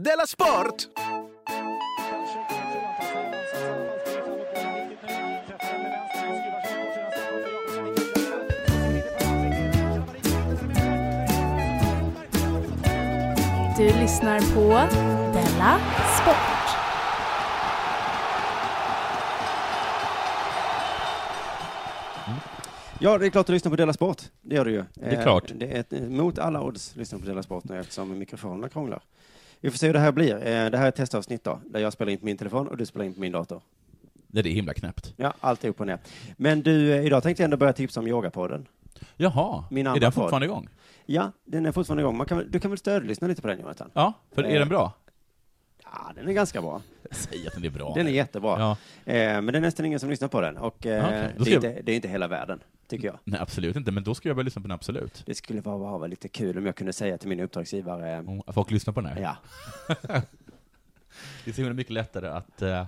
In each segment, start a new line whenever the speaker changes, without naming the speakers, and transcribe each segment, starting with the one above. Della Sport!
Du lyssnar på Della Sport.
Ja, det är klart du lyssnar på Della Sport. Det gör du ju. Eh,
är klart.
Det är ett, mot alla odds lyssnar på Della Sport nu eftersom mikrofonerna krånglar. Vi får se hur det här blir. Eh, Det här är ett testavsnitt då, där jag spelar in på min telefon och du spelar in på min dator.
Nej, det är himla knäppt.
Ja, allt är upp och ner. Men du, eh, idag tänkte jag ändå börja tipsa om yogapodden.
Jaha,
Min
är
andra
den
podd.
fortfarande igång?
Ja, den är fortfarande igång. Man kan, väl- du kan väl stödlyssna lite på den, Jonathan?
Ja, för
Eh.
är den bra?
Ja, den är ganska bra.
Säg att den är bra.
Eh, Den är jättebra.
Ja.
Eh, Men det är nästan ingen som lyssnar på den. Och eh,
Ja, okej. Då
det,
ska
är
jag-
inte, det är inte hela världen, tycker jag.
Nej, absolut inte, men då ska jag börja lyssna på den, absolut.
Det skulle bara vara lite kul om jag kunde säga till min uppdragsgivare,
Om Mm, Folk lyssnar på den här.
ja,
Det är så himla mycket lättare att, eh,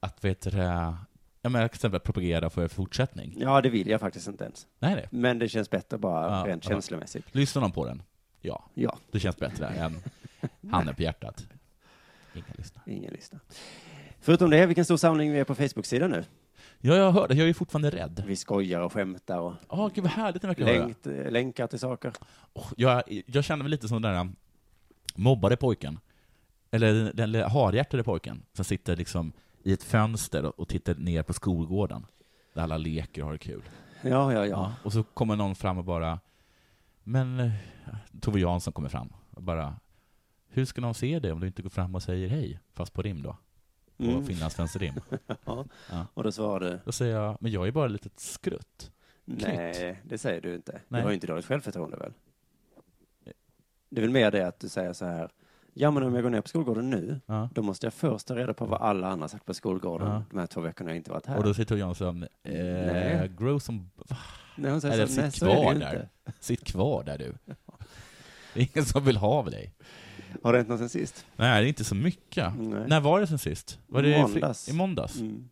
att vet du, det, ja, men till exempel propagera för fortsättning.
ja, det vill jag faktiskt inte ens.
Nej, nej.
Men det känns bättre bara
Ja,
rent
ja.
känslomässigt.
Lyssnar någon på den? Ja,
Ja,
det känns bättre än handen på hjärtat. Ingen lyssnar.
ingen lyssnar. Förutom det, vilken stor samling vi är på Facebook-sidan nu.
Ja, jag hörde, jag är ju fortfarande rädd.
Vi skojar och skämtar och
Åh, gud vad härligt det verkar vara.
länkt, eh, länkar till saker.
Åh, jag, jag känner mig lite som den där um, mobbade pojken. Eller den- den lilla harhjärtade pojken som sitter liksom i ett fönster och och tittar ner på skolgården. Där alla leker och har det kul.
Ja, ja, ja.
Och så kommer någon fram och bara, men eh, Tove Jansson kommer fram och bara, hur ska någon se dig om du inte går fram och säger hej? Fast på rim då. På
Mm.
finlandssvensk rim.
Och då svarar du,
Då säger jag, men jag är bara ett litet skrutt.
nej, det säger du inte. Du
Nej.
har ju inte dåligt självförtroende väl? Det är väl mer det att du säger så här, ja men om jag går ner på skolgården nu,
Ja.
då måste jag först ta reda på vad alla andra har sagt på skolgården
Ja.
de här två veckorna jag inte varit här.
Och då säger Tove Jansson, eh,
Nej.
grow som, va?
Nej, hon säger
Eller
så, nej,
sitt
så är
kvar
det ju
där.
inte.
Sitt kvar där du. Det är ingen som vill ha av dig.
Har det hänt något sen sist?
Nej, det är inte så mycket.
Nej.
När var det sen sist? Var det i fri-
Måndags.
I måndags?
Mm.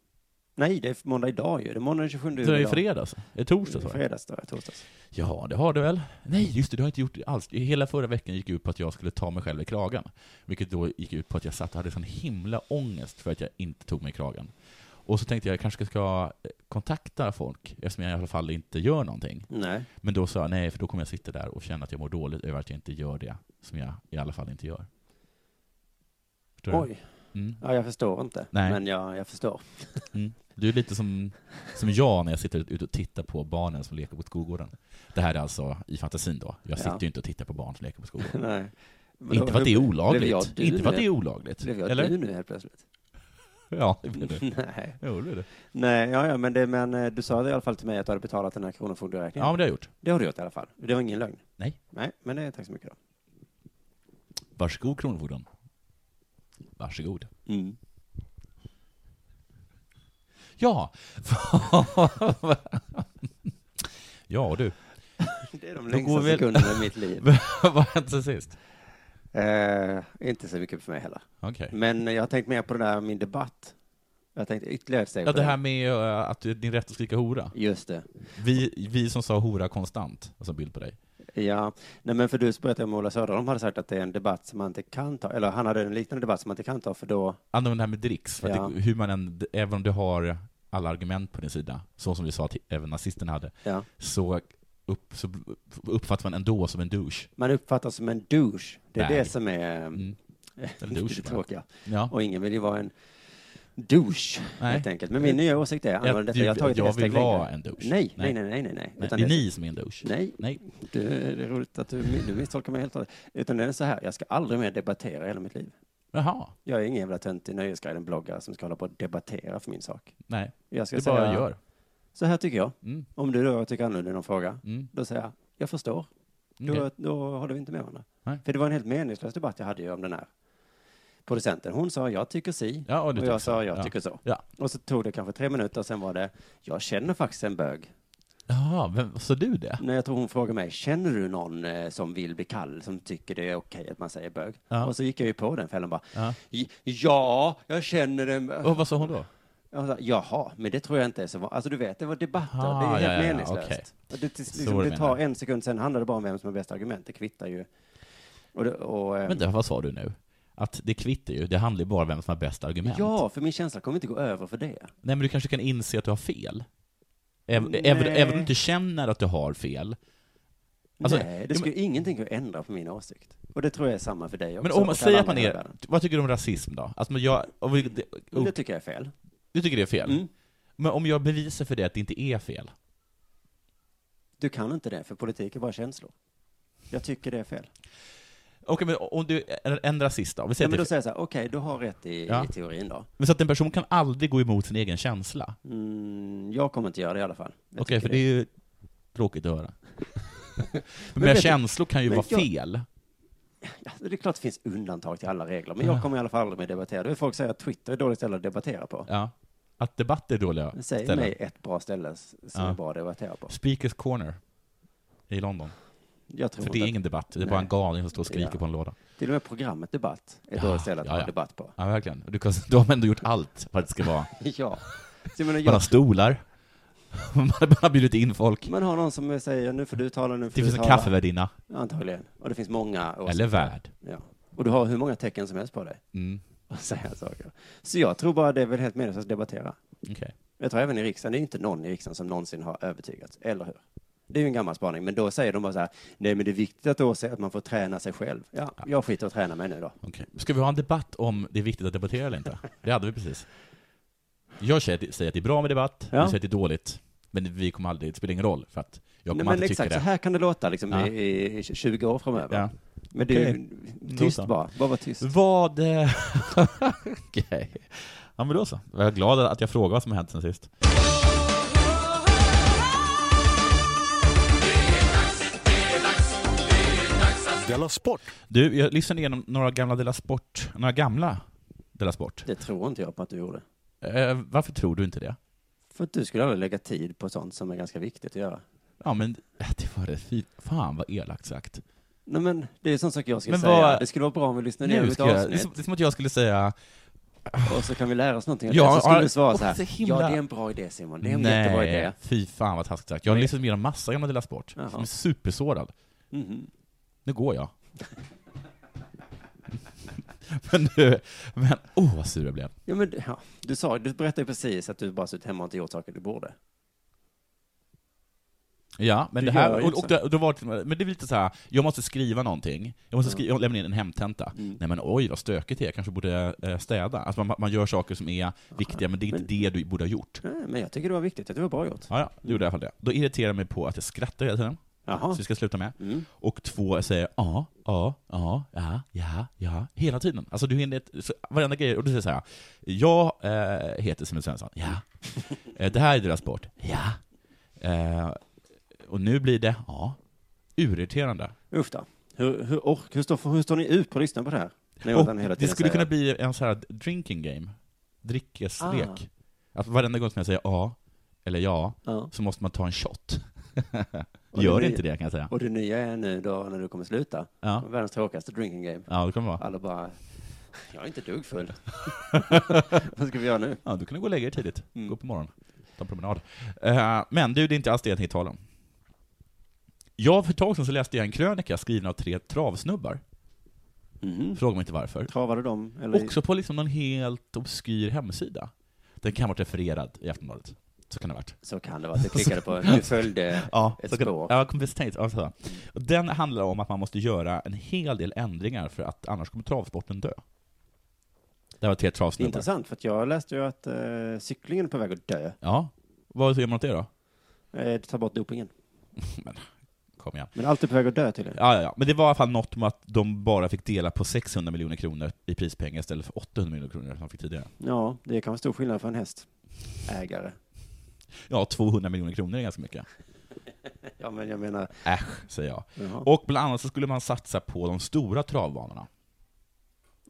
Nej, det är måndag idag ju. Det är måndag den 27
Det är i
idag.
fredags? Är det torsdag? Så?
Fredags, då, torsdags.
Ja, det har du väl? Nej, just det, du har inte gjort det alls. Hela förra veckan gick ut på att jag skulle ta mig själv i kragen. Vilket då gick ut på att jag satt och hade sån himla ångest för att jag inte tog mig i kragen. Och så tänkte jag, jag kanske ska eh, kontakta folk, eftersom jag i alla fall inte gör någonting.
Nej.
Men då sa jag nej, för då kommer jag sitta där och känna att jag mår dåligt över att jag inte gör det som jag i alla fall inte gör. Förstår
Oj.
du? Mm.
Ja, jag förstår inte.
Nej.
Men jag, jag förstår.
Mm. Du är lite som, som jag när jag sitter ute och tittar på barnen som leker på skolgården. Det här är alltså i fantasin då. Jag sitter
Ja.
ju inte och tittar på barn som leker på skolgården.
Nej. Men
Inte
då-
för att det är
Blev jag
olagligt.
du
Inte för att
nu?
det är olagligt.
Blev jag
Eller?
du nu helt plötsligt?
Ja, det blev det.
Nej.
Jo, det blev det.
Nej, ja, ja, men, det, men eh, du sa det i alla fall till mig att du hade betalat den här
Ja,
kronofogderäkningen.
men det har jag gjort.
Det har du gjort i alla fall. Det var ingen lögn.
Nej.
Nej, men det, tack så mycket då.
Varsågod, Kronofogden. Varsågod. Ja! ja, du.
Det är de
Då går
längsta
vi-
sekunderna i mitt liv.
Vad har hänt sen sist?
Eh, inte så mycket för mig heller.
Okej.
Men jag har tänkt mer på det där min debatt. Jag har tänkt ytterligare ett steg
Ja,
på
det här med eh, att det är din rätt att skrika hora.
Just det.
Vi, vi som sa hora konstant, alltså bild på dig.
Ja, nej men för du berättade om Ola Söderholm hade sagt att det är en debatt som man inte kan ta, eller han hade en liknande debatt som man inte kan ta för då,
Ja, men det här med dricks, för att
Ja.
det, hur man än, även om du har alla argument på din sida, så som vi sa att även nazisterna hade,
ja,
så, upp, så uppfattar man ändå som en douche.
man uppfattas som en douche. Det är
Nej.
det som är mm.
Mm. Eller douche bara.
tråkiga.
Ja.
Och ingen vill ju vara en douche,
Nej.
helt enkelt. Men min nya åsikt är, jag, detta,
du-
jag har tagit
jag
ett steg
vill vara
längre.
en douche.
Nej, nej,
Nej.
nej, nej, nej. nej.
Nej,
Utan
det är
det-
ni som är en douche.
Nej,
Nej.
det, det är roligt att du, du misstolkar mig helt och hållet. Utan det är så här, jag ska aldrig mer debattera i hela mitt liv.
Jaha.
Jag är ingen jävla töntig Nöjesguiden-bloggare som ska hålla på och debattera för min sak.
Nej.
Jag ska
Det
säga,
bara gör.
så här tycker jag.
Mm.
Om du då tycker annorlunda i någon fråga,
Mm.
då säger jag, jag förstår. Då,
Okej.
då håller vi inte med varandra.
Nej.
För det var en helt meningslös debatt jag hade ju om den här producenten. Hon sa, jag tycker si.
Ja, och du
och
tycker
jag sa,
så.
jag
Ja.
tycker så.
Ja.
Och så tog det kanske tre minuter, och sen var det, jag känner faktiskt en bög.
Jaha, vem, så du det?
När jag tror hon frågade mig, känner du någon eh, som vill bli kall, som tycker det är okej att man säger bög?
Ja.
Och så gick jag ju på den fällan bara,
Ja.
"J- ja, jag känner en bög."
Och vad sa hon då?
Jag sa, Jaha, men det tror jag inte är så vanligt. Alltså du vet, det var debatter,
Ah,
det är helt
ja, ja, ja,
meningslöst.
okej.
Och Det, till-
Så
liksom,
du
det tar
menar.
en sekund, sen handlar det bara om vem som har bäst argument, det kvittar ju. Och, det, och, eh,
Vänta, vad sa du nu? att det kvittar ju, det handlar ju bara om vem som har bäst argument.
Ja, för min känsla kommer inte gå över för det.
Nej, men du kanske kan inse att du har fel. Även,
Nej.
även, även om du inte känner att du har fel. Alltså,
Nej, det
ja,
skulle ingenting kunna ändra på min åsikt. Och det tror jag är samma för dig också.
Men om man
och
säger
alla
att man
andra i
är,
världen.
vad tycker du om rasism då? Alltså, men jag, om vi, det, oh,
Och Det tycker jag är fel.
du tycker det är fel?
Mm.
Men om jag bevisar för dig att det inte är fel?
Du kan inte det, för politik är bara känslor. Jag tycker det är fel.
Okej, men om du är en rasist då? Vi
Ja,
säger
men
att
då
det,
säger jag så här, okej, du har rätt i,
Ja.
i teorin då.
men så att en person kan aldrig gå emot sin egen känsla?
Mm, jag kommer inte göra det i alla fall. Jag
Okej,
tycker
för det är ju tråkigt att höra. men
vet
mina
du-
känslor kan ju
men
vara
jag-
fel.
Ja, det är klart det finns undantag till alla regler, men
Ja.
jag kommer i alla fall aldrig mer debattera. Det är folk säger att Twitter är ett dåligt ställe att debattera på.
Ja. Att debatter är dåliga
Säg
ställen.
mig ett bra ställe s- som
Ja.
är bra att debattera på.
Speakers corner i London.
Jag tror
För det är
inte.
ingen debatt, det är
Nej.
bara en galning som står och skriker
Ja.
på en låda.
Till och med programmet Debatt är ett
Ja,
dåligt ställe att
ja,
ha
ja.
debatt på.
Ja, verkligen. Du, kan- de har ändå gjort allt för att det ska vara.
ja. Så jag menar,
Man har
jag,
stolar, man har bara bjudit in folk.
man har någon som säger nu får du tala, nu får
Det
du
finns en
tala.
kaffevärdinna,
Antagligen. Och det finns många åsikter.
eller värd.
Ja. Och du har hur många tecken som helst på dig
Mm.
att säga saker. Så jag tror bara det är väl helt meningslöst att debattera.
okej.
Jag tror även i riksdagen, det är inte någon i riksdagen som någonsin har övertygats, eller hur? Det är ju en gammal spaning, men då säger de bara så här, nej men det är viktigt att, då säga att man får träna sig själv. Ja, jag skiter och träna mig nu då.
Okej. Ska vi ha en debatt om det är viktigt att debattera eller inte? Det hade vi precis. Jag säger att- säger att det är bra med debatt,
Ja.
du säger att det är dåligt. Men vi kommer aldrig, det spelar ingen roll, för att
Nej,
jag kommer
men
alltid
exakt, så
tycka det.
här kan det låta liksom,
Ja.
i, i, i 20 år framöver.
Ja.
Men det är ju tyst
Då så.
bara, bara var tyst.
Vad... eh, Okej. Ja, men då så. Jag är glad att jag frågade vad som har hänt sen sist.
Della Sport!
Du, jag lyssnade igenom några gamla Della Sport. Några gamla Della Sport.
Det tror inte jag på att du gjorde.
Eh, varför tror du inte det?
För att du skulle aldrig lägga tid på sånt som är ganska viktigt att göra.
Ja, men eh, det var rätt fint. Fan vad elakt sagt.
Nej men, det är ju sån sak jag skulle
Men
säga.
vad-
Det skulle vara bra om vi lyssnade igenom
Nu
ett
ska jag, det, är
avsnitt,
som, det är som att jag skulle säga,
och så kan vi lära oss någonting.
Ja,
Ja, så skulle
ja,
du svara
åh,
så här,
så himla-
ja det är en bra idé Simon, det är en jättebra idé.
nej, fy fan vad taskigt sagt. Jag har lyssnat igenom massa gamla Della Sport,
Jaha.
som är supersårad.
Mhm.
Nu går jag. men du, men, åh vad sur jag blev.
Ja, men, ja. Du, sa, du berättade ju precis att du bara suttit hemma och inte gjort saker du borde.
Ja, men
Du
det här,
gör ju
och, och,
inte
då- och då var det, men det är lite så här, jag måste skriva någonting, jag måste skriva, jag lämna in en hemtenta. Nej men oj vad stökigt det är, jag kanske borde eh, städa. Alltså man, man gör saker som är viktiga, men det är inte det du borde ha gjort.
Nej, men jag tycker det var viktigt, att det var bra gjort.
Ja, ja, det gjorde jag i alla fall det. Då irriterar jag mig på att jag skrattar hela tiden,
Jaha.
så det ska jag sluta med.
Mm.
Och två, jag säger ja, ja, ja, ja, ja, ja, hela tiden. Alltså du hinner, ett- så- varenda grej, och du säger så här, jag eh, heter Simon Svensson, ja. Eh, det här är deras sport, ja. Eh, och nu blir det, ja. Urirriterande.
Usch då. Hur, hur, ork, hur, står, hur står ni ut på att lyssna på det här? När jag
Och
hela tiden
det skulle
säger-
kunna bli en så här drinking game, drickeslek.
Ah.
Att varenda gång som jag säger ja, eller ja,
Ja.
så måste man ta en shot.
Och
Gör
det blir-
inte det kan jag säga.
Och det nya är nu då när du kommer sluta,
Ja.
världens tråkigaste drinking game.
Ja, det kommer vara.
Alla bara, jag är inte ett dugg full. Vad ska vi göra nu?
Ja, du kan gå och lägga dig tidigt.
Mm.
Gå upp på morgonen. Ta en promenad. Eh, men du, det är inte alls det jag tänkte tala om. Jag, för ett tag sedan så läste jag en krönika skriven av tre travsnubbar.
Mhm.
Fråga mig inte varför.
Travade de? Eller?
Också på liksom någon helt obskyr hemsida. Den kan ha varit refererad i Aftonbladet. Så kan det ha varit.
Så kan det vara, att du klickade på, du följde
Ja,
ett
så kan,
spår.
ja kompetens. Ja, så. Och Den handlar om att man måste göra en hel del ändringar för att annars kommer travsporten dö. Det var tre travsnubbar.
Intressant, för att jag läste ju att eh, cyklingen är på väg att dö.
Ja. Vad gör man åt det då?
Eh, ta bort dopingen.
Kom igen.
Men allt är på väg att dö tydligen.
Ja, ja, ja, men det var i alla fall något med att de bara fick dela på 600 miljoner kronor i prispengar istället för 800 miljoner kronor som de fick tidigare.
Ja, det kan vara stor skillnad för en hästägare.
Ja, 200 miljoner kronor är ganska mycket.
Ja, men jag menar,
Äsch, säger jag.
jaha.
Och bland annat så skulle man satsa på de stora travbanorna.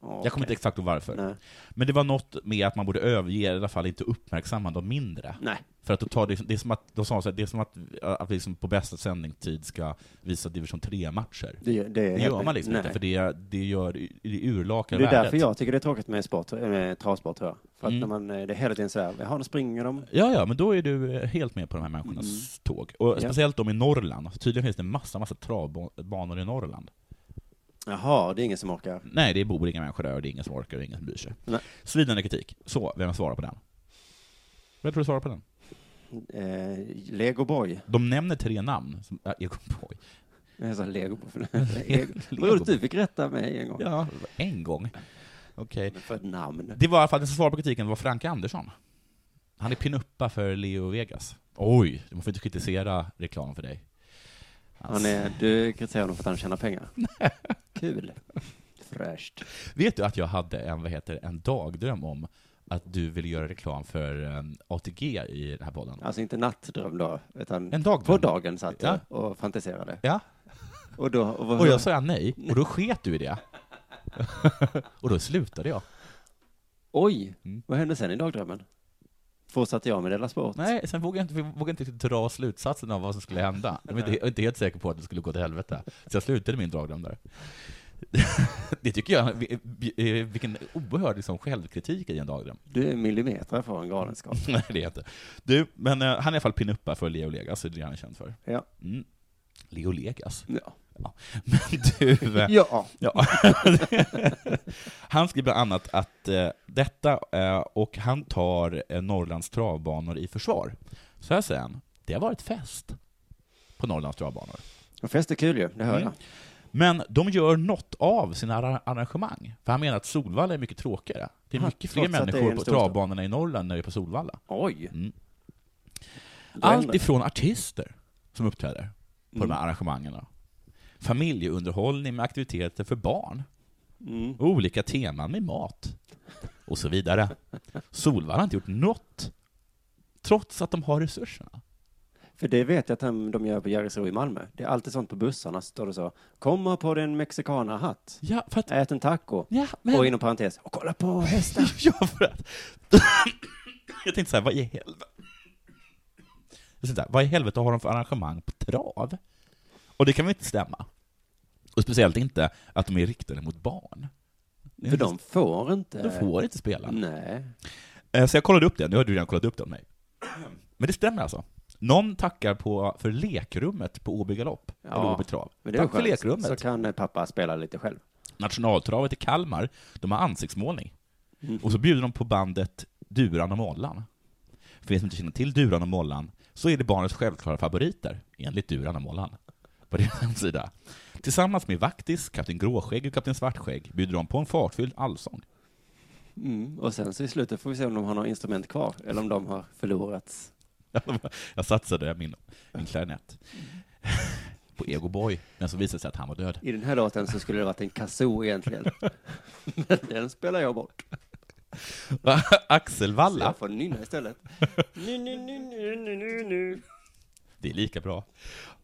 Ja,
Jag kommer inte
okej.
exakt ihåg varför.
Nej.
Men det var något med att man borde överge, i alla fall inte uppmärksamma de mindre.
Nej.
För att då tar det, det är som att, de sa så här, det är som att, att vi liksom på bästa sändningstid ska visa division 3-matcher.
Det, det, är
Det
helt
gör man liksom
nej.
inte, för det, det, gör, det urlakar
Det är
värdet.
därför jag tycker det är tråkigt med sport, eh, med travsport tror jag. För att
Mm.
när man, eh, det är hela tiden sådär, jaha, nu springer de.
Ja, ja, men då är du eh, helt med på de här människornas tåg. Och
Mm. Ja.
speciellt de i Norrland. Tydligen finns det massa, massa travbanor i Norrland.
Jaha, det är ingen som orkar.
Nej, det bor inga människor där och det är ingen som orkar och det är ingen som bryr sig.
Nej.
Svidande kritik. Så, vem svarar på den? Vem tror du svarar på den?
Eh, Lego Boy.
De nämner tre namn. Som, äh, Egon Boy.
Jag sa Lego Boy. Lego. Vad roligt du fick rätta mig en gång.
Ja, en gång. Okej.
För ett namn.
Det var i alla fall, den som svarade på kritiken var Franke Andersson. Han är pinuppa för Leo Vegas. Oj, man får inte kritisera reklam för dig.
Han är, du kritiserar honom för att han tjänar pengar. Kul. Fräscht.
Vet du att jag hade en, vad heter, det, en dagdröm om att du ville göra reklam för eh, ATG i den här podden?
Alltså inte nattdröm då, utan
En dagdröm.
på dagen satt jag
Ja.
och fantiserade.
Ja,
Och då, och vad-
och jag sa jag nej, och då sket du i det. och då slutade jag.
Oj,
Mm.
vad hände sen i dagdrömmen? Fortsatte jag med Della Sport?
Nej, sen vågade jag inte, vågade jag inte riktigt dra slutsatsen av vad som skulle hända. Jag var inte, jag var inte helt säker på att det skulle gå till helvete. Så jag slutade min dragdom där. Det tycker jag, vi- vi- eh, vilken oerhörd liksom självkritik i en dagdröm.
Du är millimeter från galenskap.
Nej, det är jag inte. Du, men eh, han är i alla fall pinuppa för Leo Legas, det är det han är känd för.
Ja.
Mm. Leo Legas?
Ja.
Men du... eh,
ja.
Ja. han skriver bland annat att eh, detta, eh, och han tar eh, Norrlands travbanor i försvar. Så här säger han, det har varit fest på Norrlands travbanor.
Och fest är kul ju, det hör
Mm.
jag.
Men de gör något av sina arra- arrangemang, för han menar att Solvalla är mycket tråkigare. Det är
Ha,
mycket fler
trots att det är
människor
en
på
storstad.
travbanorna i Norrland än det är på Solvalla.
Oj.
Mm.
Då
Allt
ändrar-
ifrån artister som uppträder på de här arrangemangen. då. Familjeunderhållning med aktiviteter för barn.
Mm.
Olika teman med mat. Och så vidare. Solvalla har inte gjort något. Trots att de har resurserna.
För det vet jag att de, de gör på Jägersro i Malmö. Det är alltid sånt på bussarna, står det så. Komma på din mexicana-hatt.
Ja, för att...
Ät en taco.
Ja, men...
Och inom parentes, och kolla på hästen.
ja, för att... jag tänkte så här, vad i helvete... Jag tänkte så här, vad i helvete har de för arrangemang på trav? Och det kan väl inte stämma? Och speciellt inte att de är riktade mot barn.
För de får inte.
De får inte spela.
Nej.
Eh, Så jag kollade upp det, nu har du redan kollat upp det om mig. Men det stämmer alltså. Någon tackar på, för lekrummet på Åby galopp,
Ja,
eller Åby trav.
Men det är
Tack för
skönt.
lekrummet.
Så kan eh, pappa spela lite själv.
Nationaltravet i Kalmar, de har ansiktsmålning.
Mm.
Och så bjuder de på bandet Duran och Mollan. För er som inte känner till Duran och Mollan, så är det barnets självklara favoriter, enligt Duran och Mollan. På deras hemsida. Tillsammans med Vaktis, Kapten Gråskägg och Kapten Svartskägg bjuder de på en fartfylld allsång.
Mm. Och sen så i slutet får vi se om de har några instrument kvar, eller om de har förlorats.
Jag satsade min, min klarinett på Ego Boy, men så visade det sig att han var död.
I den här låten så skulle det varit en kazoo egentligen. Men den spelar jag bort.
Axel
Så
Walla,
jag får nynna istället. Nu, nu, nu, nu, nu, nu, nu.
det är lika bra.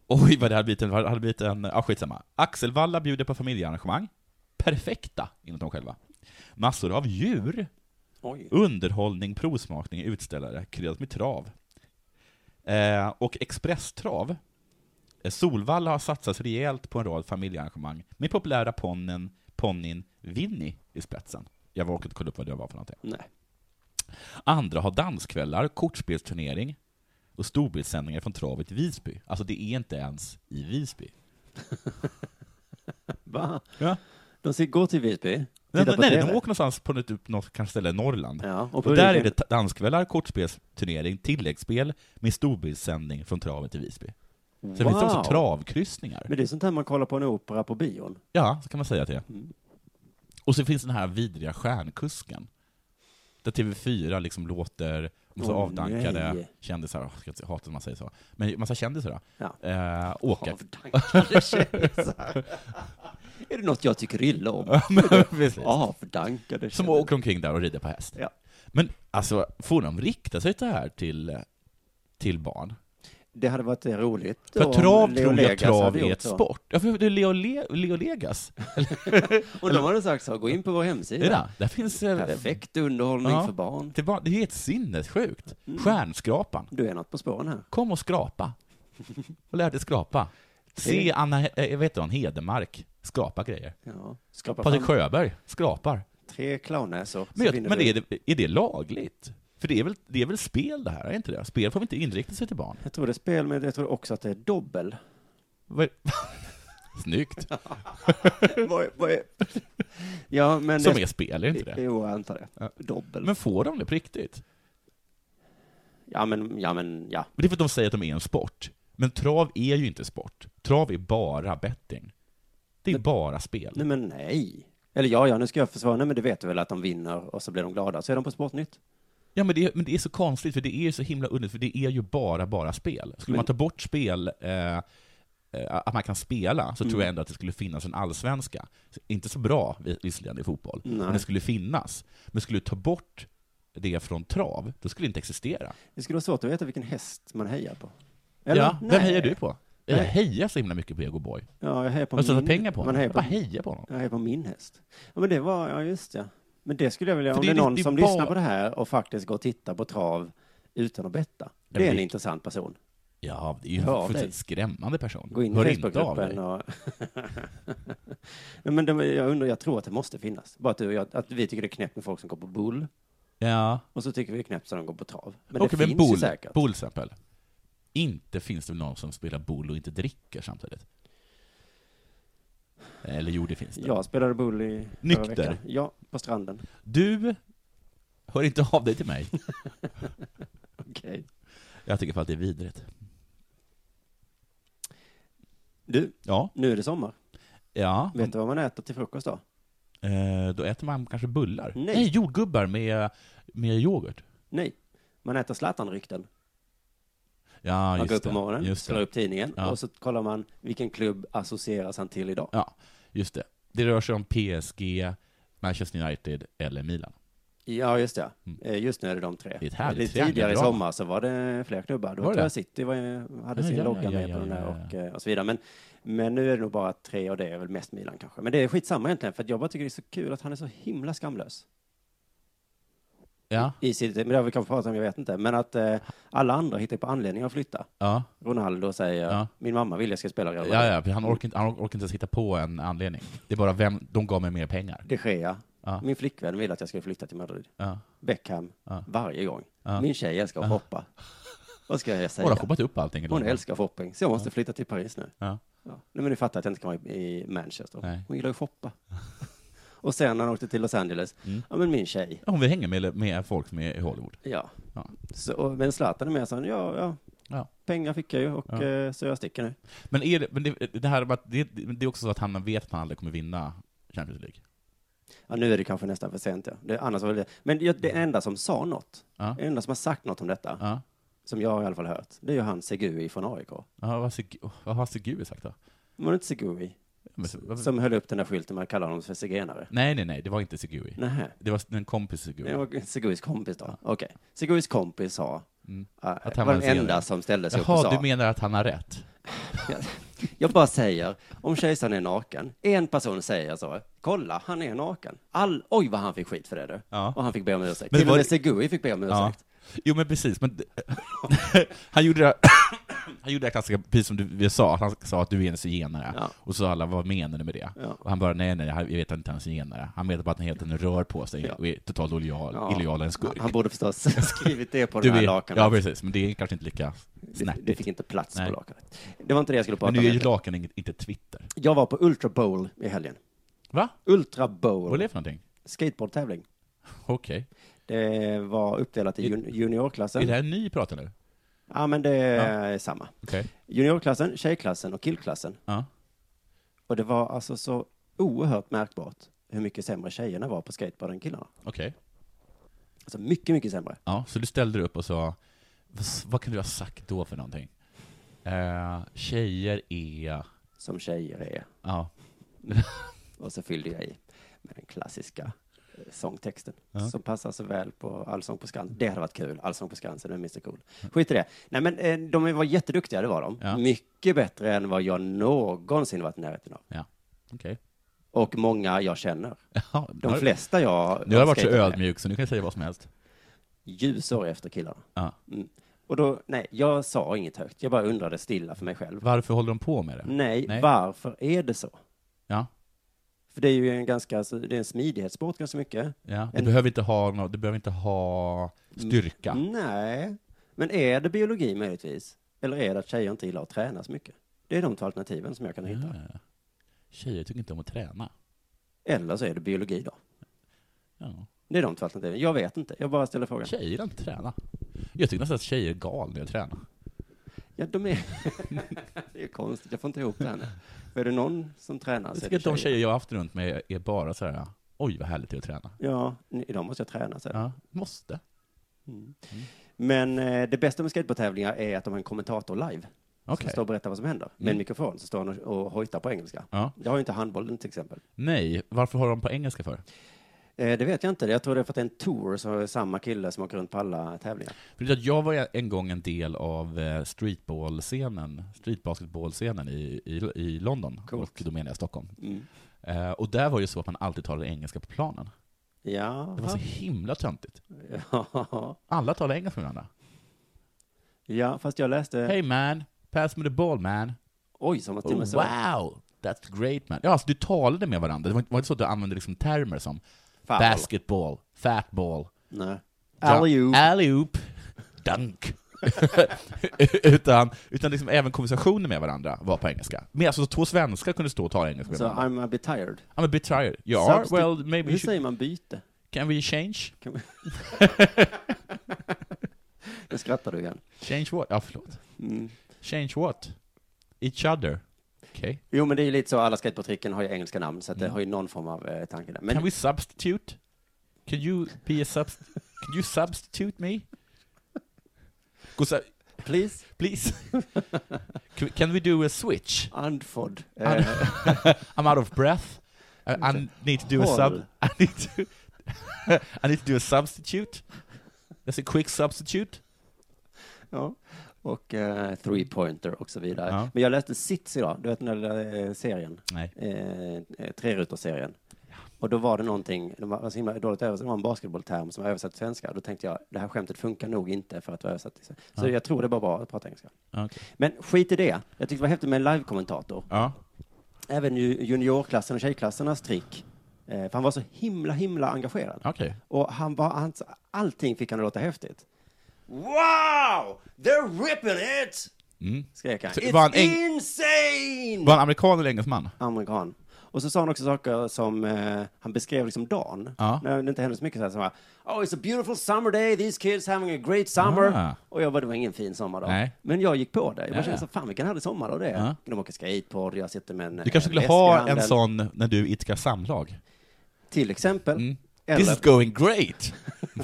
Oj, vad det hade blivit en... Hade blivit en ja, skitsamma. Axel Walla bjuder på familjearrangemang. Perfekta, enligt dem själva. Massor av djur,
Oj.
underhållning, provsmakning, utställare, kryddat med trav. Eh, och expresstrav. Eh, Solvalla har satsat rejält på en rad familjearrangemang med populära ponnen, ponnin Winnie i spetsen. Jag orkar inte kolla upp vad det var för någonting.
Nej.
Andra har danskvällar, kortspelsturnering och storbildssändningar från travet i Visby. Alltså det är inte ens i Visby.
Va?
Ja.
De ska gå till Visby,
Nej,
titta
nej,
på
nej,
TV.
de åker någonstans på något, upp något kanske ställe i Norrland.
Ja,
Och,
och, och
där är det ta- danskvällar, kortspelsturnering, tilläggsspel med storbildssändning från travet i Visby. Så det finns också travkryssningar.
Men det är sånt här man kollar på en opera på bion.
Ja, så kan man säga till.
Mm.
Och så finns den här vidriga stjärnkusken. Där TV4 liksom låter massa
Åh,
avdankade
nej.
kändisar, jag ska inte- hatar när man säger så, men massa kändisar då,
Ja.
eh, åka.
Avdankade kändisar. är det något jag tycker illa om?
Precis.
Avdankade
Som
kändisar.
åker omkring där och rider på häst.
Ja.
Men alltså, får de rikta sig det här till, till barn?
Det hade varit eh, roligt.
För
om
att trav
Leo
tror jag
Legas
trav
hade
är
gjort
ett
så.
sport. Ja, för det är Leo, Le, Leo Legas.
Och de hade sagt så, gå in på vår
Det
hemsida.
där, där finns... eh,
Perfekt underhållning
Ja.
för barn.
Det, var, det är helt sinnessjukt.
Mm.
Stjärnskrapan.
Du är något på spåren här.
Kom och skrapa. Och lär dig skrapa. Se Anna, eh, vet du hon, Hedemark skrapa grejer.
Ja. Skapa
Patrik
fram
Sjöberg skrapar.
tre clownnäsor. så
Men, jag,
vinner
men
du.
är, det, är det lagligt? För det är, väl, det är väl spel det här, är inte det? Spel får vi inte inrikta sig till barn.
Jag tror det är spel, men jag tror också att det är dobbel.
Vad- Snyggt.
Vad är- vad är- ja, men
Som
det...
är spel, är det inte det?
Jo, jag antar det.
Ja.
Dobbel.
Men får de det på riktigt?
Ja, men, ja, men, ja.
Men Det är för att de säger att de är en sport. Men trav är ju inte sport. Trav är bara betting. Det är bara spel.
Nej, men nej. Eller ja, ja, nu ska jag försvara. Nej, men det vet du väl att de vinner och så blir de glada. Så är de på Sportnytt.
Ja, men det, men det är så konstigt, för det är ju så himla underligt, för det är ju bara, bara spel. Skulle
Men-
man ta bort spel, eh, eh, att man kan spela, så tror
Mm.
jag ändå att det skulle finnas en allsvenska. Inte så bra, vis- visserligen, i fotboll, men det skulle finnas. Men skulle du ta bort det från trav, då skulle det inte existera.
Det skulle vara svårt att veta vilken häst man hejar på.
ja,
Nej.
vem hejar du på? Jag
Nej.
hejar så himla mycket på Ego Boy.
Ja, jag hejar på
Jag har satsat
min.
pengar på
man
honom.
hejar
Jag
på,
bara hejar på honom.
jag hejar på min häst. Ja, men det var, ja just det. Men det skulle jag vilja,
För
om
det
det är
är
någon
lite- det är
som
bara-
lyssnar på det här och faktiskt går och tittar på trav utan att betta.
men
Det är en
det-
intressant person.
Ja, det är ju en
Hör av dig.
fullständigt skrämmande person.
Gå in i
Hör inte av
Facebookgruppen
dig.
och... Nej, men det, jag undrar, jag tror att det måste finnas. Bara att, du och jag, att vi tycker det är knäppt med folk som går på bull.
Ja.
Och så tycker vi det är knäppt som de går på trav. Men
Okej,
det
men
finns
bull,
ju säkert.
Bull till exempel. Inte finns det väl någon som spelar bull och inte dricker samtidigt? Eller jo, det finns det.
Jag spelade bull i förra
Nykter.
veckan. Ja, på stranden.
Du hör inte av dig till mig.
Okej.
Jag tycker för att det är vidrigt.
Du,
Ja,
nu är det sommar.
ja.
Vet du vad man äter till frukost då?
Eh, då äter man kanske bullar.
Nej.
jordgubbar med, med yoghurt.
Nej, man äter Zlatan-rykten.
Ja,
Man
just
går upp
det.
på morgonen,
just
slår
det.
upp tidningen
Ja.
och så kollar man vilken klubb associeras han till idag.
Ja, just det. Det rör sig om PSG, Manchester United eller Milan.
Ja, just det.
Mm.
Eh, Just nu är det de tre.
Det är ett härligt
Lite tidigare i
triangeldrama.
sommar så var det fler klubbar. Då
Var det?
tror jag City var, ju- hade
Ja,
sin
ja,
logga
ja,
med
ja,
på den
ja,
där
ja.
och, eh, och så vidare. Men, men nu är det nog bara tre och det är väl mest Milan kanske. Men det är skitsamma egentligen för att jag bara tycker det är så kul att han är så himla skamlös.
Ja,
I sitt, men det har vi kanske pratat om, jag vet inte. Men att eh, alla andra hittar på anledningar att flytta.
ja.
Ronaldo säger,
Ja.
min mamma vill jag ska spela i Real
Ja,
Madrid.
ja, för han orkar inte, han orkar inte ens hitta på en anledning. Det är bara vem, de gav mig mer pengar.
De Gea,
Ja.
min flickvän vill att jag ska flytta till Madrid.
Ja.
Beckham,
Ja.
varje gång.
Ja.
Min tjej älskar att hoppa. Vad ska jag
Hon har
säga?
shoppat upp allting.
Hon älskar shopping, så jag måste flytta till Paris nu.
Ja.
Ja. Nej, men ni fattar att jag inte kan vara i i Manchester.
Nej.
Hon gillar ju att shoppa. och sen när han åkte till Los Angeles,
Mm.
ja men min tjej,
Hon vill hänga med, med folk som är i Hollywood.
ja.
Ja.
Så, och, men Zlatan är med, så han, ja, ja,
Ja.
pengar fick jag ju och
Ja.
eh, så jag sticker nu.
Men, är det, men det, det, här, med att- det, det är också så att han vet att han aldrig kommer vinna Champions League.
Ja, nu är det kanske nästan för sent, ja. det, annars var det det. Men det, det enda som sa något,
Mm. Ja.
det enda som har sagt något om detta,
Ja.
som jag i alla fall hört, det är ju han Segui från AIK.
Ja, vad, Seg- oh, vad har Segui sagt då?
Var det inte Segui
Men, så- vad-
som höll upp den där skylten med att kalla honom för zigenare?
nej, nej, nej, det var inte Segui.
Nähä.
Det var en kompis Segui.
Det var Seguis kompis då? Okej. Seguis kompis sa,
Mm.
att
han
han var
var
den
en
enda
zigenare.
som ställde sig upp och
Jaha,
sa,
du menar att han har rätt?
jag bara säger, om kejsaren är naken, en person säger så, kolla, han är naken. All, oj vad han fick skit för det du.
Ja.
Och han fick be om ursäkt.
Men
Till och
var
med
det-
Segui fick be om
Ja.
ursäkt.
Jo, men precis. Men han gjorde det Han gjorde det här klassiska, precis som du vi sa, att han sa att du är en zigenare.
Ja.
Och så sa alla, vad menar du med det?
Ja.
Och han bara, nej nej, jag vet inte han är zigenare. Han vet bara att han hela tiden rör på sig
Ja.
och är totalt illojal,
Ja.
illojal och en skurk.
Han borde förstås skrivit det på
du
den här
är,
lakanet.
Ja, precis. Men det är kanske inte lika
det, det
snärtigt.
fick inte plats
Nej.
på lakanet. Det var inte det jag skulle
Men
prata
nu är ju
om.
lakan inget- inte Twitter.
Jag var på Ultra Bowl i helgen.
Va?
Ultra
Vad är
Bowl,
det för någonting?
skateboardtävling.
Okej.
Det var uppdelat i jun-
Är det
juniorklassen.
här en ny prata nu?
Ja, men det är samma.
Okej.
Juniorklassen, tjejklassen och killklassen.
Ja.
Och det var alltså så oerhört märkbart hur mycket sämre tjejerna var på skateboard än killarna.
Okej.
Alltså mycket, mycket sämre.
Ja, så du ställde dig upp och sa, "Vad- vad kan du ha sagt då för någonting? Eh, tjejer är...
Som tjejer är.
Ja,
Och så fyllde jag i med den klassiska eh, sångtexten.
Ja.
Som passar så väl på Allsång på Skansen. Det hade varit kul. Allsång på Skansen med Mr Cool. Skit i det. Nej men eh, de var jätteduktiga, det var de.
Ja.
Mycket bättre än vad jag någonsin varit i närheten av.
ja. Okej.
Och många jag känner.
Ja, nu
De
har-
flesta jag...
Nu har jag varit så
skateboardar med.
ödmjuk så nu kan jag säga vad som helst.
Ljusår efter killarna.
Ja.
Mm. Och då, nej, jag sa inget högt. Jag bara undrade stilla för mig själv.
Varför håller de på med det?
Nej,
Nej.
varför är det så?
Ja,
För det är ju en ganska, alltså, det är en smidighetssport ganska mycket.
ja. Du,
En- Mm.
behöver inte ha no, du behöver inte ha styrka.
Nej, men är det biologi möjligtvis? Eller är det att tjejer inte gillar att träna så mycket? Det är de två alternativen som jag kan hitta.
Ja. Tjejer tycker inte om att träna.
Eller så är det biologi då.
Ja.
Det är de två alternativen. Jag vet inte. Jag bara ställer frågan.
Tjejer gillar inte att träna. Jag tycker nästan att tjejer är galna när jag tränar.
Alltså, Ja, de är... det är konstigt. Jag får inte ihop det här nu. För är det någon som tränar
Jag
så är
tycker
det
att de tjejer jag har haft runt mig är bara så här, oj vad härligt det är att träna.
Ja, idag måste jag träna. Så.
Ja, Mm. måste.
Men eh, det bästa med skateboardtävlingar är att de har en kommentator live.
Okej. Mm.
Som står och berättar vad som händer. Med en mikrofon så står han och, och hojtar på engelska.
Ja.
Det har ju inte handbollen till exempel.
Nej, varför har de på engelska för?
Eh, det vet jag inte. Jag tror det är för att det är en tour så har det samma kille som åker runt på alla tävlingar.
För att jag var en gång en del av eh, streetball-scenen, streetbasketball-scenen i, i, i London, och då menar jag Stockholm.
Mm.
Eh, och där var det ju så att man alltid talade engelska på planen.
Ja.
Det var så himla töntigt.
ja.
Alla talade engelska med varandra.
ja, fast jag läste...
Hey man, pass me the ball man.
Oj, som att
Oh,
Timmy sa.
wow, that's great man. Ja, alltså du talade med varandra. Det var inte var inte så att du använde liksom termer som
Fan,
basketball, fatball,
Nej. Alley-oop.
alley-oop, dunk. utan utan liksom även konversationer med varandra var på engelska. Men alltså två svenskar kunde stå och tala engelska med
Så
varandra.
I'm a bit tired.
I'm a bit tired. You are?
Substi-
Well, maybe
Hur
you should...
säger man byte?
Can we change?
Kan vi- Nu skrattar du igen.
Change what? Ja, förlåt.
Mm.
Change what? Each other? Okay.
Jo, men det är ju lite så, alla skateboardtricken har ju engelska namn, så att
Mm.
det har ju någon form av eh, tanke där. Men
Can we substitute? Can you be a sub... Can you substitute me? Gå så här,
please,
Please. Can we- Can we do a switch?
Andford. eh,
And- I'm out of breath. I, I need to do a sub.
Håll.
I need to. I need to do a substitute. That's a quick substitute.
ja. Och eh, three-pointer och så vidare.
Ja.
Men jag läste Sits idag, du vet den där eh, serien,
Nej.
eh, eh, trerutorserien. Och då var det någonting, de var så himla dåligt översatt, det var en basketbollterm som var översatt till svenska. Då tänkte jag, det här skämtet funkar nog inte för att vara översatt till svenska. Så
Ja.
jag tror det var bra att prata engelska.
Okay.
Men skit i det. Jag tyckte det var häftigt med en live-kommentator.
Ja.
Även ju- juniorklassen och tjejklassernas trick. Eh, för han var så himla, himla engagerad.
Okej.
Och han var, han, allting fick han att låta häftigt. Wow! They're ripping it!
Mm.
Skrek han.
Så
It's
var han eng-
insane!
Var han amerikan eller engelsman?
Amerikan. Och så sa han också saker som, eh, han beskrev liksom dagen.
Ja.
När det inte hände så mycket så här, så han bara, Oh, it's a beautiful summer day, these kids having a great summer.
Ah.
Och jag bara, det var ingen fin sommardag.
Nej.
Men jag gick på det. Jag bara
Ja,
kände
ja.
så, fan vilken härlig sommardag det är.
Ja.
De åker skateboard, jag sitter med en
Du kanske
eh,
skulle ha en
läskhandel.
sån när du idkar samlag?
Till exempel.
Mm. This
Eller,
is going great!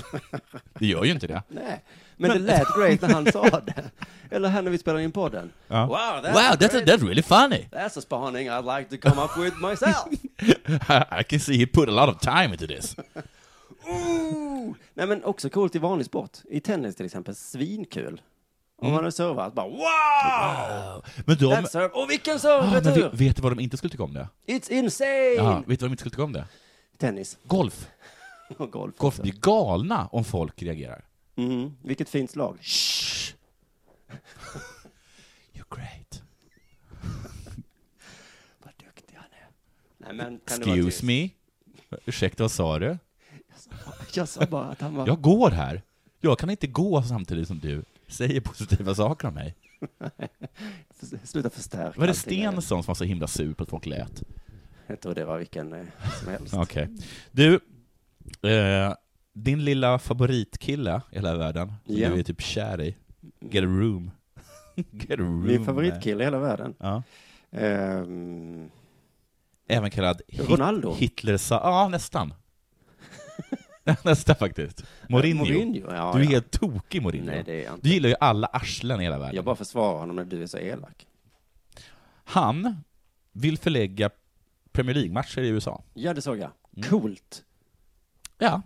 det gör ju inte det.
nej. Men det lät great när han sa det. Eller här när vi spelade in podden.
Ja.
Wow, that's,
Wow,
a
that's,
great-
that's really funny!
that's a spaning I'd like to come up with myself.
I can see he put a lot of time into this.
Ooh! Nej men också coolt i vanlig sport. I tennis till exempel, svinkul. Om man har servat, bara wow!
Mm. Men de...
That serve. Och vilken serve!
Ah, men
retur!
vet, vet du vad de inte skulle tycka om det?
It's insane!
Ja, vet du vad de inte skulle tycka om det?
Tennis
Golf.
och golf.
Golf blir galna om folk reagerar.
Mhm. Vilket fint slag.
Shh. You're great.
Vad duktig han är. Nej men kan du vara tyst?
Excuse me. Ursäkta, vad sa du?
Jag sa bara att han var...
Jag går här. Jag kan inte gå samtidigt som du säger positiva saker om mig.
Sluta förstärka.
Var det
allting.
Stensson som var så himla sur på att folk lät?
Jag tror det var vilken eh, som helst.
Okej. Du, eh, din lilla favoritkille i hela världen, som
Ja.
du är typ kär i, get a room. get a room. eh.
Min favoritkille i hela världen.
Ja.
Ehm,
Även kallad Hit-
Ronaldo?
Hitler sa, ja nästan. nästan faktiskt. Mourinho.
Mourinho, ja,
du är
ja.
helt tokig Mourinho.
Nej, det är jag inte.
Du gillar ju alla arslen i hela världen.
Jag bara försvarar honom när du är så elak.
Han vill förlägga Premier League-matcher i USA.
Ja, det såg jag.
Mm.
Coolt.
Ja.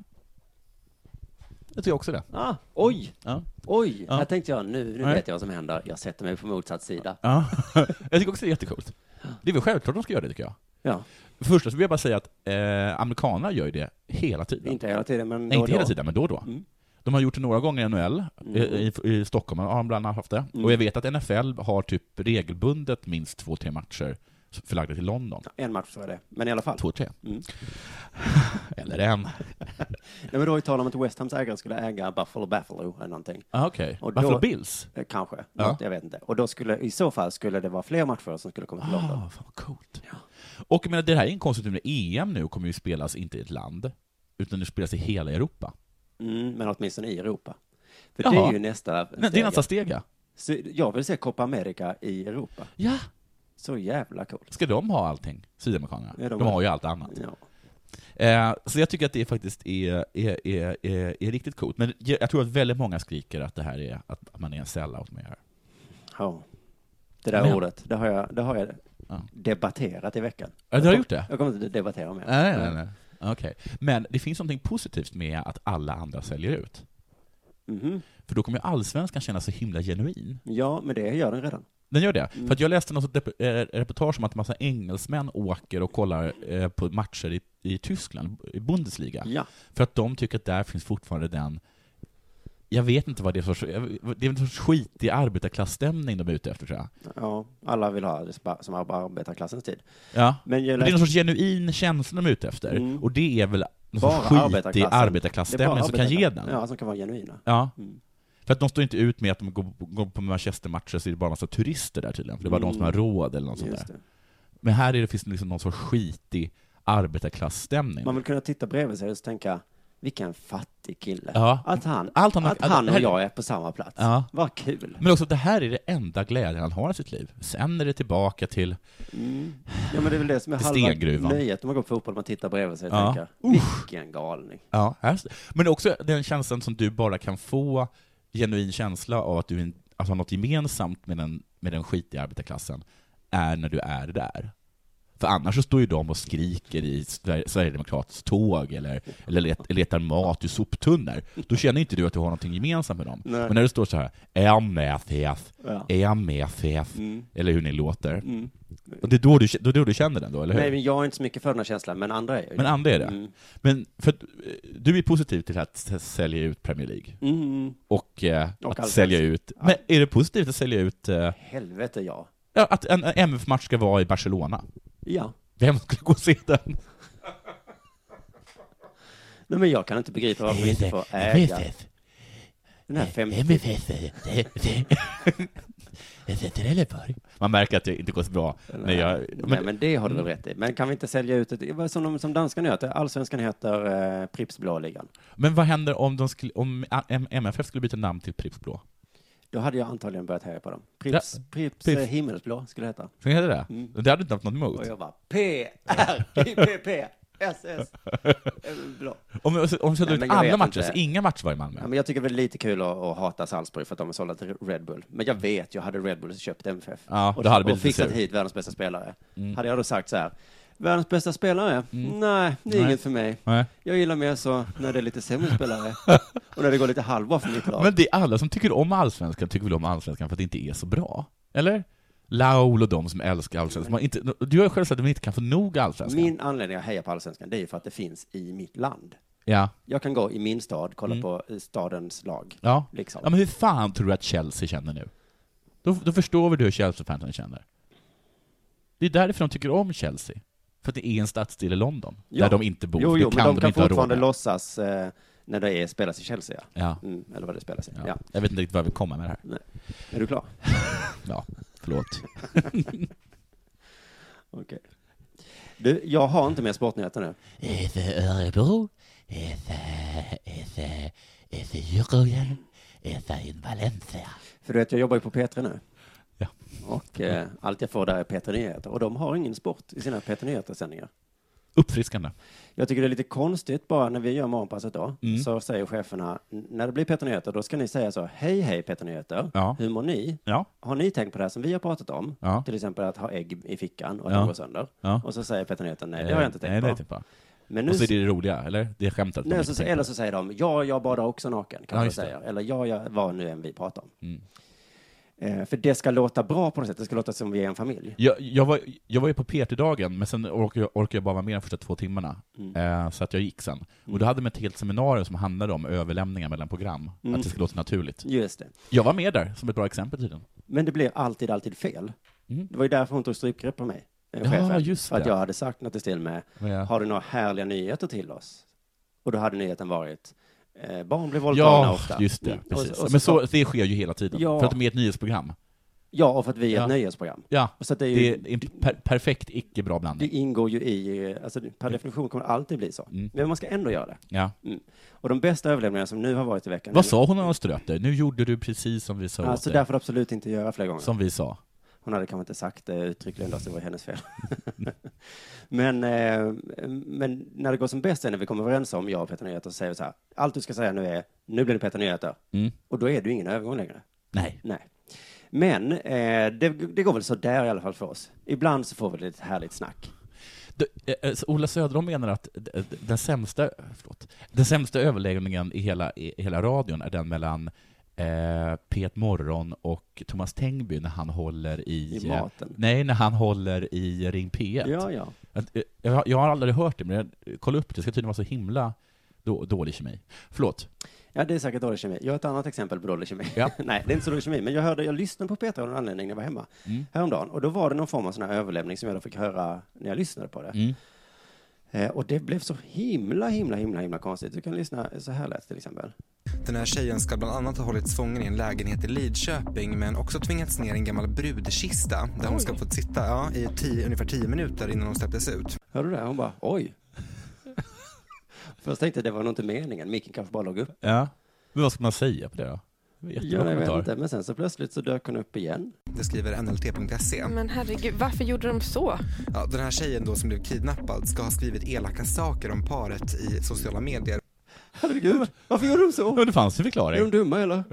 Jag tycker också det.
Ah, oj!
Ja.
Oj,
Ja.
här tänkte jag nu, nu
Nej.
vet jag vad som händer. Jag sätter mig på motsatt sida.
ja. jag tycker också det är jättecoolt. Det är väl självklart de ska göra det tycker jag.
Ja,
För det första så vill jag bara säga att eh, amerikanerna gör ju det hela tiden.
inte hela tiden, men
Nej,
då och
inte
då. Mm.
hela tiden, men då och då. De har gjort det några gånger i NHL, i, i, i Stockholm har de bland annat haft det.
Mm.
Och jag vet att NFL har typ regelbundet minst två, tre matcher förlagda till London.
En match så är det, men i alla fall. Mm.
Två, tre. Eller en.
Nej, men då har ju tal om att West Hams ägare skulle äga Buffalo Buffalo eller någonting.
Ah, Okej.
Och då-
Buffalo Bills?
Eh, Kanske,
Ja.
Något, jag vet inte. Och då skulle, i så fall skulle det vara fler matcher som skulle komma till London.
Ah, fan vad Ah, coolt. Och jag menar, det här är en konstigt med EM nu kommer ju spelas inte i ett land, utan det spelas i hela Europa.
Mm, men åtminstone i Europa. För det
Jaha.
är ju nästa
Men det är
steg.
nästa steg, ja.
Så jag vill se Copa America i Europa.
Ja,
Så jävla coolt.
ska de ha allting, sydamerikanerna?
Ja,
de,
de
har Mm.
har-
ju allt annat.
Ja.
Eh, så jag tycker att det faktiskt är, är, är, är, är riktigt coolt. Men jag, jag tror att väldigt många skriker att det här är att att man är en sellout med det här.
ja. Det där
Men-
ordet, det har jag, det har jag
Ja.
debatterat i veckan.
Ja, du har gjort det?
Jag kommer inte debattera mer. Mm.
Nej, nej, nej. Okej. Men det finns någonting positivt med att alla andra säljer ut.
Mhm.
För då kommer ju allsvenskan kännas så himla genuin.
Ja, men det gör den redan.
Den gör det.
Mm.
För att jag läste något sånt dep- eh, reportage om att en massa engelsmän åker och kollar eh, på matcher i, i Tyskland, i Bundesliga.
Ja.
För att de tycker att där finns fortfarande den jag vet inte vad det är för sorts, jag- det är en sorts skitig arbetarklassstämning de är ute efter tror jag.
ja, alla vill ha det spa- som har på arbetarklassens tid.
Ja.
Men jag
Men det är
läste-
någon sorts genuin känsla de är ute efter,
Mm.
och det är väl någon
Bara
sorts skitig
arbetarklassen. Det är bara
arbetarklassstämning som kan ge
arbetarklassen.
den.
Ja, som kan vara genuina.
Ja.
Mm.
För att de står inte ut med att de går, går på Manchester-matcher så är det bara en massa turister där tydligen, för det är bara de som har råd eller något sånt
Mm. Just
där.
det.
Men här är det, finns det liksom någon sorts skitig arbetarklassstämning.
Man vill kunna titta bredvid sig och tänka, vilken fattig kille.
Ja.
Att han,
Allt han har-
att han och
här-
jag är på samma plats.
Ja.
Vad kul.
Men också att det här är det enda glädjen han har i sitt liv. Sen är det tillbaka till,
Ja, men det är väl det som är
Till
halva
stengruvan.
nöjet när man går på fotboll, man tittar bredvid sig och
Ja.
tänker, vilken galning.
ja, här, men också den känslan som du bara kan få, genuin känsla av att du är en- alltså har något gemensamt med den, med den skitiga arbetarklassen, är när du är där. För annars så står ju de och skriker i Sver- Sverigedemokraternas tåg eller, eller let- letar mat i soptunnor. Då känner inte du att du har någonting gemensamt med dem.
Nej.
Men när det står så här MFF,
Ja.
MFF, eller hur ni låter.
Mm.
Och det är då du, då, då du känner den då, eller hur?
Nej, men jag är inte så mycket för den här känslan, men andra är ju
Eh. Men
det.
andra är det.
Mm.
Men för att, eh, du är positiv till att s- sälja ut Premier League
Mm.
och, eh,
Och
att
allsvenskan.
sälja ut... Men är det positivt att sälja ut... Eh,
Helvete ja.
ja, att en en MF-match ska vara i Barcelona?
Ja.
Vem skulle gå och se den?
Nej, men jag kan inte begripa varför vi inte får äga den här 50...
Man märker att det inte går så bra. när jag,
Nej, men det har du väl rätt i. Men kan vi inte sälja ut det? Vad Som, de, som danskarna heter, allsvenskan heter eh, Pripps blå ligan.
men vad händer om, de skulle, om A- M- MFF skulle byta namn till Pripps Blå?
Då hade jag antagligen börjat heja på dem. Pripps, Pripps
Pripps.
eh, himmelsblå skulle det heta.
Så heter det?
Mm.
Det hade du inte haft något emot?
Och jag bara P, R, I, P, P, S, S. Eh, Blå.
Om vi om vi säljer
Nej,
ut
men jag
alla
vet
matcher,
inte.
så inga matcher var i Malmö?
Ja, men jag tycker väl det är lite kul att, att hata Salzburg för att de är sålda till Red Bull. Men jag vet, jag hade Red Bull köpt MFF.
Ja,
och,
då hade det
och
blivit lite
fixat
Mm. sur.
hit världens bästa spelare. Hade jag då sagt så här, världens bästa spelare? Nej, det är
Mm. Nej.
inget för mig.
Nej.
Jag gillar mer så när det är lite sämre spelare och när det går lite halvbra för mitt lag.
Men det är alla som tycker om allsvenskan, tycker väl om allsvenskan för att det inte är så bra? Eller? Laul och de som älskar allsvenskan. Man inte, du har ju själv sagt att man inte kan få nog allsvenskan.
Min anledning att heja på Allsvenskan, det är ju för att det finns i mitt land.
Ja.
Jag kan gå i min stad,
Mm.
kolla på eh, stadens lag.
Ja.
Liksom.
ja. Men hur fan tror du att Chelsea känner nu? Då, då förstår väl du hur Chelsea-fansen känner? Det är därför de tycker om Chelsea. För att det är en stadsdel i London,
Ja.
där de inte bor.
Jo,
för
jo,
det
men de
de
kan
inte ha råd
fortfarande
med.
låtsas eh, när det är, spelas i Chelsea, ja.
Ja.
Mm, eller vad det spelas i.
Ja.
Ja.
Jag vet inte riktigt vad jag vill komma med det här.
Är du klar?
Ja, förlåt.
Okej. Du, jag har inte mer sportnyheter nu.
If Örebro, if, uh, if, uh, if Djurgården, if in Valencia.
För du vet, jag jobbar ju på P3 nu.
Ja.
Och eh,
Mm.
allt jag får där är P3 Nyheter. Och de har ingen sport i sina P3 Nyheter-sändningar.
Uppfriskande.
Jag tycker det är lite konstigt bara när vi gör Morgonpasset då,
Mm.
så säger cheferna, "N- när det blir P3 Nyheter, då ska ni säga så, hej hej P3 Nyheter,
Ja.
hur mår ni?
Ja.
Har ni tänkt på det här som vi har pratat om?
Ja.
Till exempel att ha ägg i fickan och att
Ja.
de går sönder.
Ja.
Och så säger P3 Nyheter, nej det har jag inte
Eh, nej,
tänkt
det har jag
på.
inte på.
Men nu,
Och så är det det roliga, eller? Det är skämtet. att de
Nej,
inte
så,
tänker på
eller
det.
så säger de, ja, jag badar också naken,
Ja,
kan man
just det.
säga. Eller ja, jag, vad nu än vi pratar om.
Mm.
Eh, för det ska låta bra på något sätt, det ska låta som vi är en familj.
Jag, jag, var, jag var ju på PT-dagen, men sen orkade jag, orkade jag bara vara med de första två timmarna,
Mm.
eh, så att jag gick sen. Och då hade de ett helt seminarium som handlade om överlämningar mellan program,
Mm.
att det skulle låta naturligt.
Just det.
Jag var med där, som ett bra exempel tydligen.
Men det blir alltid, alltid fel.
Mm.
Det var ju därför hon tog strypgrepp på mig. eh,
Ja,
chefen.
just
För att
det.
jag hade sagt något i stil med,
Men jag-
har du några härliga nyheter till oss? Och då hade nyheten varit, eh, barn blir våldtagna
Ja,
ofta.
just det.
Mm.
Precis.
Och, och
men
så,
så, det sker ju hela tiden,
Ja.
för att de är ett nyhetsprogram.
Ja, och för att vi är ett
Ja.
nöjesprogram.
Ja,
Så att det, är
det
ju,
är en per perfekt icke-bra
det
blandning.
ingår ju i, eh, alltså per definition kommer det alltid bli så.
Mm.
Men man ska ändå göra det.
Ja.
Mm. Och de bästa överlevnaderna som nu har varit i veckan.
Vad sa hon när hon ströp dig? Nu gjorde du precis som vi sa åt
Alltså
dig.
därför absolut inte göra fler gånger.
Som vi sa.
Hon hade kanske inte sagt det uttryckligen, då, så det var hennes fel. men, eh, men när det går som bäst är när vi kommer överens om, jag och Peter Nyheter, så säger vi så här, allt du ska säga nu är, nu blir det Peter Nyheter.
Mm.
Och då är det ju ingen övergång längre.
Nej.
Nej. Men eh, det, det går väl så där i alla fall för oss. Ibland så får vi lite härligt snack.
Du, eh, eh, så Ola Söderholm menar att d- d- den sämsta, förlåt, den sämsta överläggningen i hela, i hela radion är den mellan eh, Pet Morgon och Thomas Tengby när han håller i...
I maten.
Eh, nej, när han håller i Ring P1.
Ja, ja.
Att, eh, Jag, har- jag har aldrig hört det, men jag, eh, kolla upp det, det ska tydligen vara så himla då, dålig kemi. Förlåt.
Ja, det är säkert dålig kemi. Jag har ett annat exempel på dålig kemi.
Ja.
Nej, det är inte så dålig kemi, men jag hörde, jag lyssnade på Peter av någon anledning när jag var hemma
Mm.
häromdagen. Och då var det någon form av sån här överlämning som jag då fick höra när jag lyssnade på det.
Mm.
Eh, och det blev så himla, himla, himla, himla konstigt. Du kan lyssna så här lät det till exempel.
Den här tjejen ska bland annat ha hållits fången i en lägenhet i Lidköping men också tvingats ner i en gammal brudkista där hon ska få sitta ja, i tio, ungefär tio minuter innan hon släpptes ut.
Hör du det? Hon bara, oj. Först tänkte jag det var nog inte meningen. Micken kanske bara låg upp.
Ja. Men vad ska man säga på det då? Jättebra
Ja, jag vet
kommentar.
inte. Men sen så plötsligt så dök hon upp igen.
Det skriver NLT.se.
Men herregud, varför gjorde de så?
E. Ja, den här tjejen då som blev kidnappad ska ha skrivit elaka saker om paret i sociala medier.
Herregud, varför gjorde de så?
Ja, det fanns en
Är de
förklaring.
dumma eller?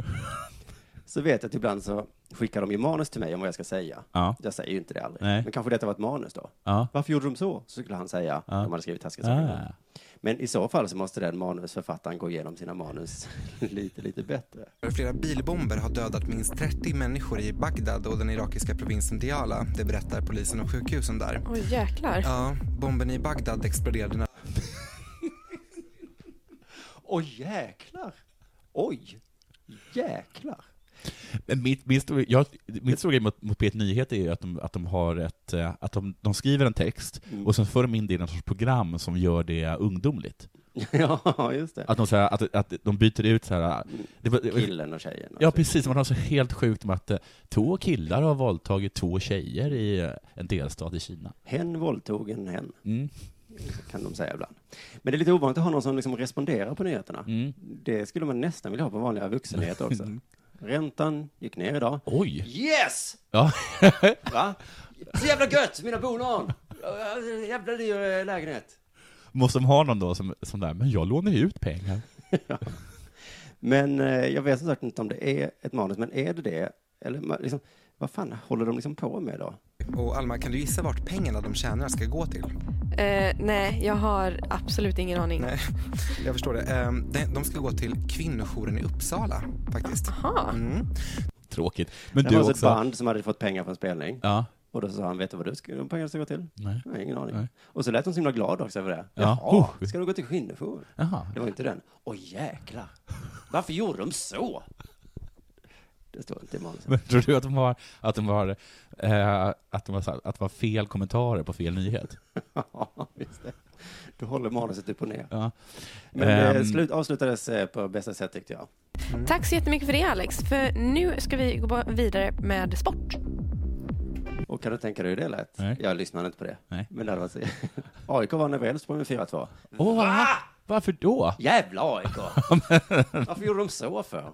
Så vet jag att ibland så skickar de ju manus till mig om vad jag ska säga.
Ja.
Jag säger ju inte det aldrig.
Nej.
Men kanske detta var ett manus då.
Ja.
Varför gjorde de så? Så skulle han säga,
Ja.
om han hade skrivit taskiga saker.
Ah.
Men i så fall så måste den manusförfattaren gå igenom sina manus lite, lite bättre.
Flera bilbomber har dödat minst 30 människor i Bagdad och den irakiska provinsen Diyala. Det berättar polisen och sjukhusen där.
Oj jäklar.
Ja, bomben i Bagdad exploderade när
Oj, jäklar! Oj, jäklar!
Men Mitt, min stor- jag, min stora grej mot, mot P1 Nyheter är ju att de, att de har ett, eh, att de, de skriver en text
Mm.
och sen för de in det i någon sorts program som gör det ungdomligt.
ja, just det.
Att de, så här, att, att de byter ut så här, det, var- det var-
Killen och tjejen. alltså.
Ja precis, man har så helt sjukt om att eh, två killar har våldtagit två tjejer i eh, en delstat i Kina.
Hen våldtog en hen,
Mm.
kan de säga ibland. Men det är lite ovanligt att ha någon som liksom responderar på nyheterna.
Mm.
Det skulle man nästan vilja ha på vanliga vuxennyheter också. Räntan gick ner idag.
Oj!
Yes!
Ja.
Va? Så jävla gött, mina bonor! Jävla dyr eh, lägenhet.
Måste de ha någon då som, som där, men jag lånar ju ut pengar.
Men eh, jag vet som sagt inte om det är ett manus, men är det det? Eller ma- liksom, vad fan håller de liksom på med då?
Och Alma, kan du gissa vart pengarna de tjänar ska gå till?
Eh, nej, jag har absolut ingen aning.
Nej, jag förstår det. Ehm, de- De ska gå till kvinnojouren i Uppsala, faktiskt.
Aha.
Mm.
Tråkigt. Men
det
du
var alltså
också?
ett band som hade fått pengar för en spelning.
Ja.
Och då sa han, vet du vad du ska, de pengarna ska gå till?
Nej.
Nej, ingen aning.
Nej.
Och så lät de så himla glad också över det.
Ja.
Jaha,
Oh.
ska de gå till kvinnojouren?
Jaha.
Det var inte den. Åh jäklar, varför gjorde de så? Det står inte i manuset.
Men tror du att de har, att de har, eh, att de har, sagt- att det var fel kommentarer på fel nyhet?
Ja, visst det. Du håller manuset upp och ner.
Ja.
Men
Ehm.
eh, slut, avslutades eh, på bästa sätt tyckte jag.
Tack så jättemycket för det Alex, för nu ska vi gå vidare med sport.
Och kan du tänka dig hur det lät?
Nej.
Jag lyssnade inte på det.
Nej.
Men det var så. AIK vann över Elfsborg med 4-2.
Åh, va? Varför då?
Jävla AIK! Varför gjorde de så för?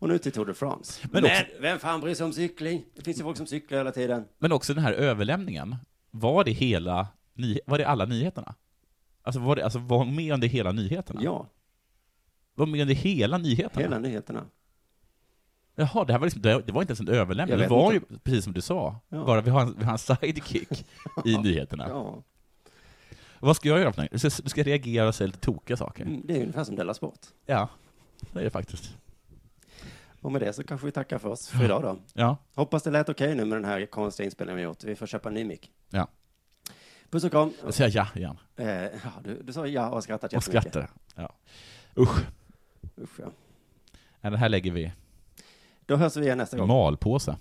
Och nu till Tour de France. Men,
Men också-
vem fan bryr sig om cykling? Det finns ju folk som cyklar hela tiden.
Men också den här överlämningen. Var det hela, ny, var det alla nyheterna? Alltså var, det, alltså var hon med under hela nyheterna?
Ja,
Var hon med under hela nyheterna?
hela nyheterna.
Jaha, det här var liksom, det det var inte ens en överlämning.
Jag
Det
vet
var
inte.
ju, precis som du sa,
Ja.
bara vi har, en, vi har en sidekick i nyheterna.
Ja.
Vad ska jag göra för någonting? Du ska, du ska reagera och säga lite tokiga saker.
Mm, Det är ungefär som Della Sport.
Ja, det är det faktiskt.
Och med det så kanske vi tackar för oss för idag då.
Ja,
Hoppas det lät okej nu med den här konstiga inspelningen vi gjort. Vi får köpa en ny mick.
ja.
Puss och kram.
Jag säger ja igen.
Eh, ja, du, du sa ja och skrattat
Och
jättemycket.
skrattar. Ja. Usch.
Usch, ja.
Nej, Det här lägger vi
Då hörs vi igen nästa
i
gång.
malpåse.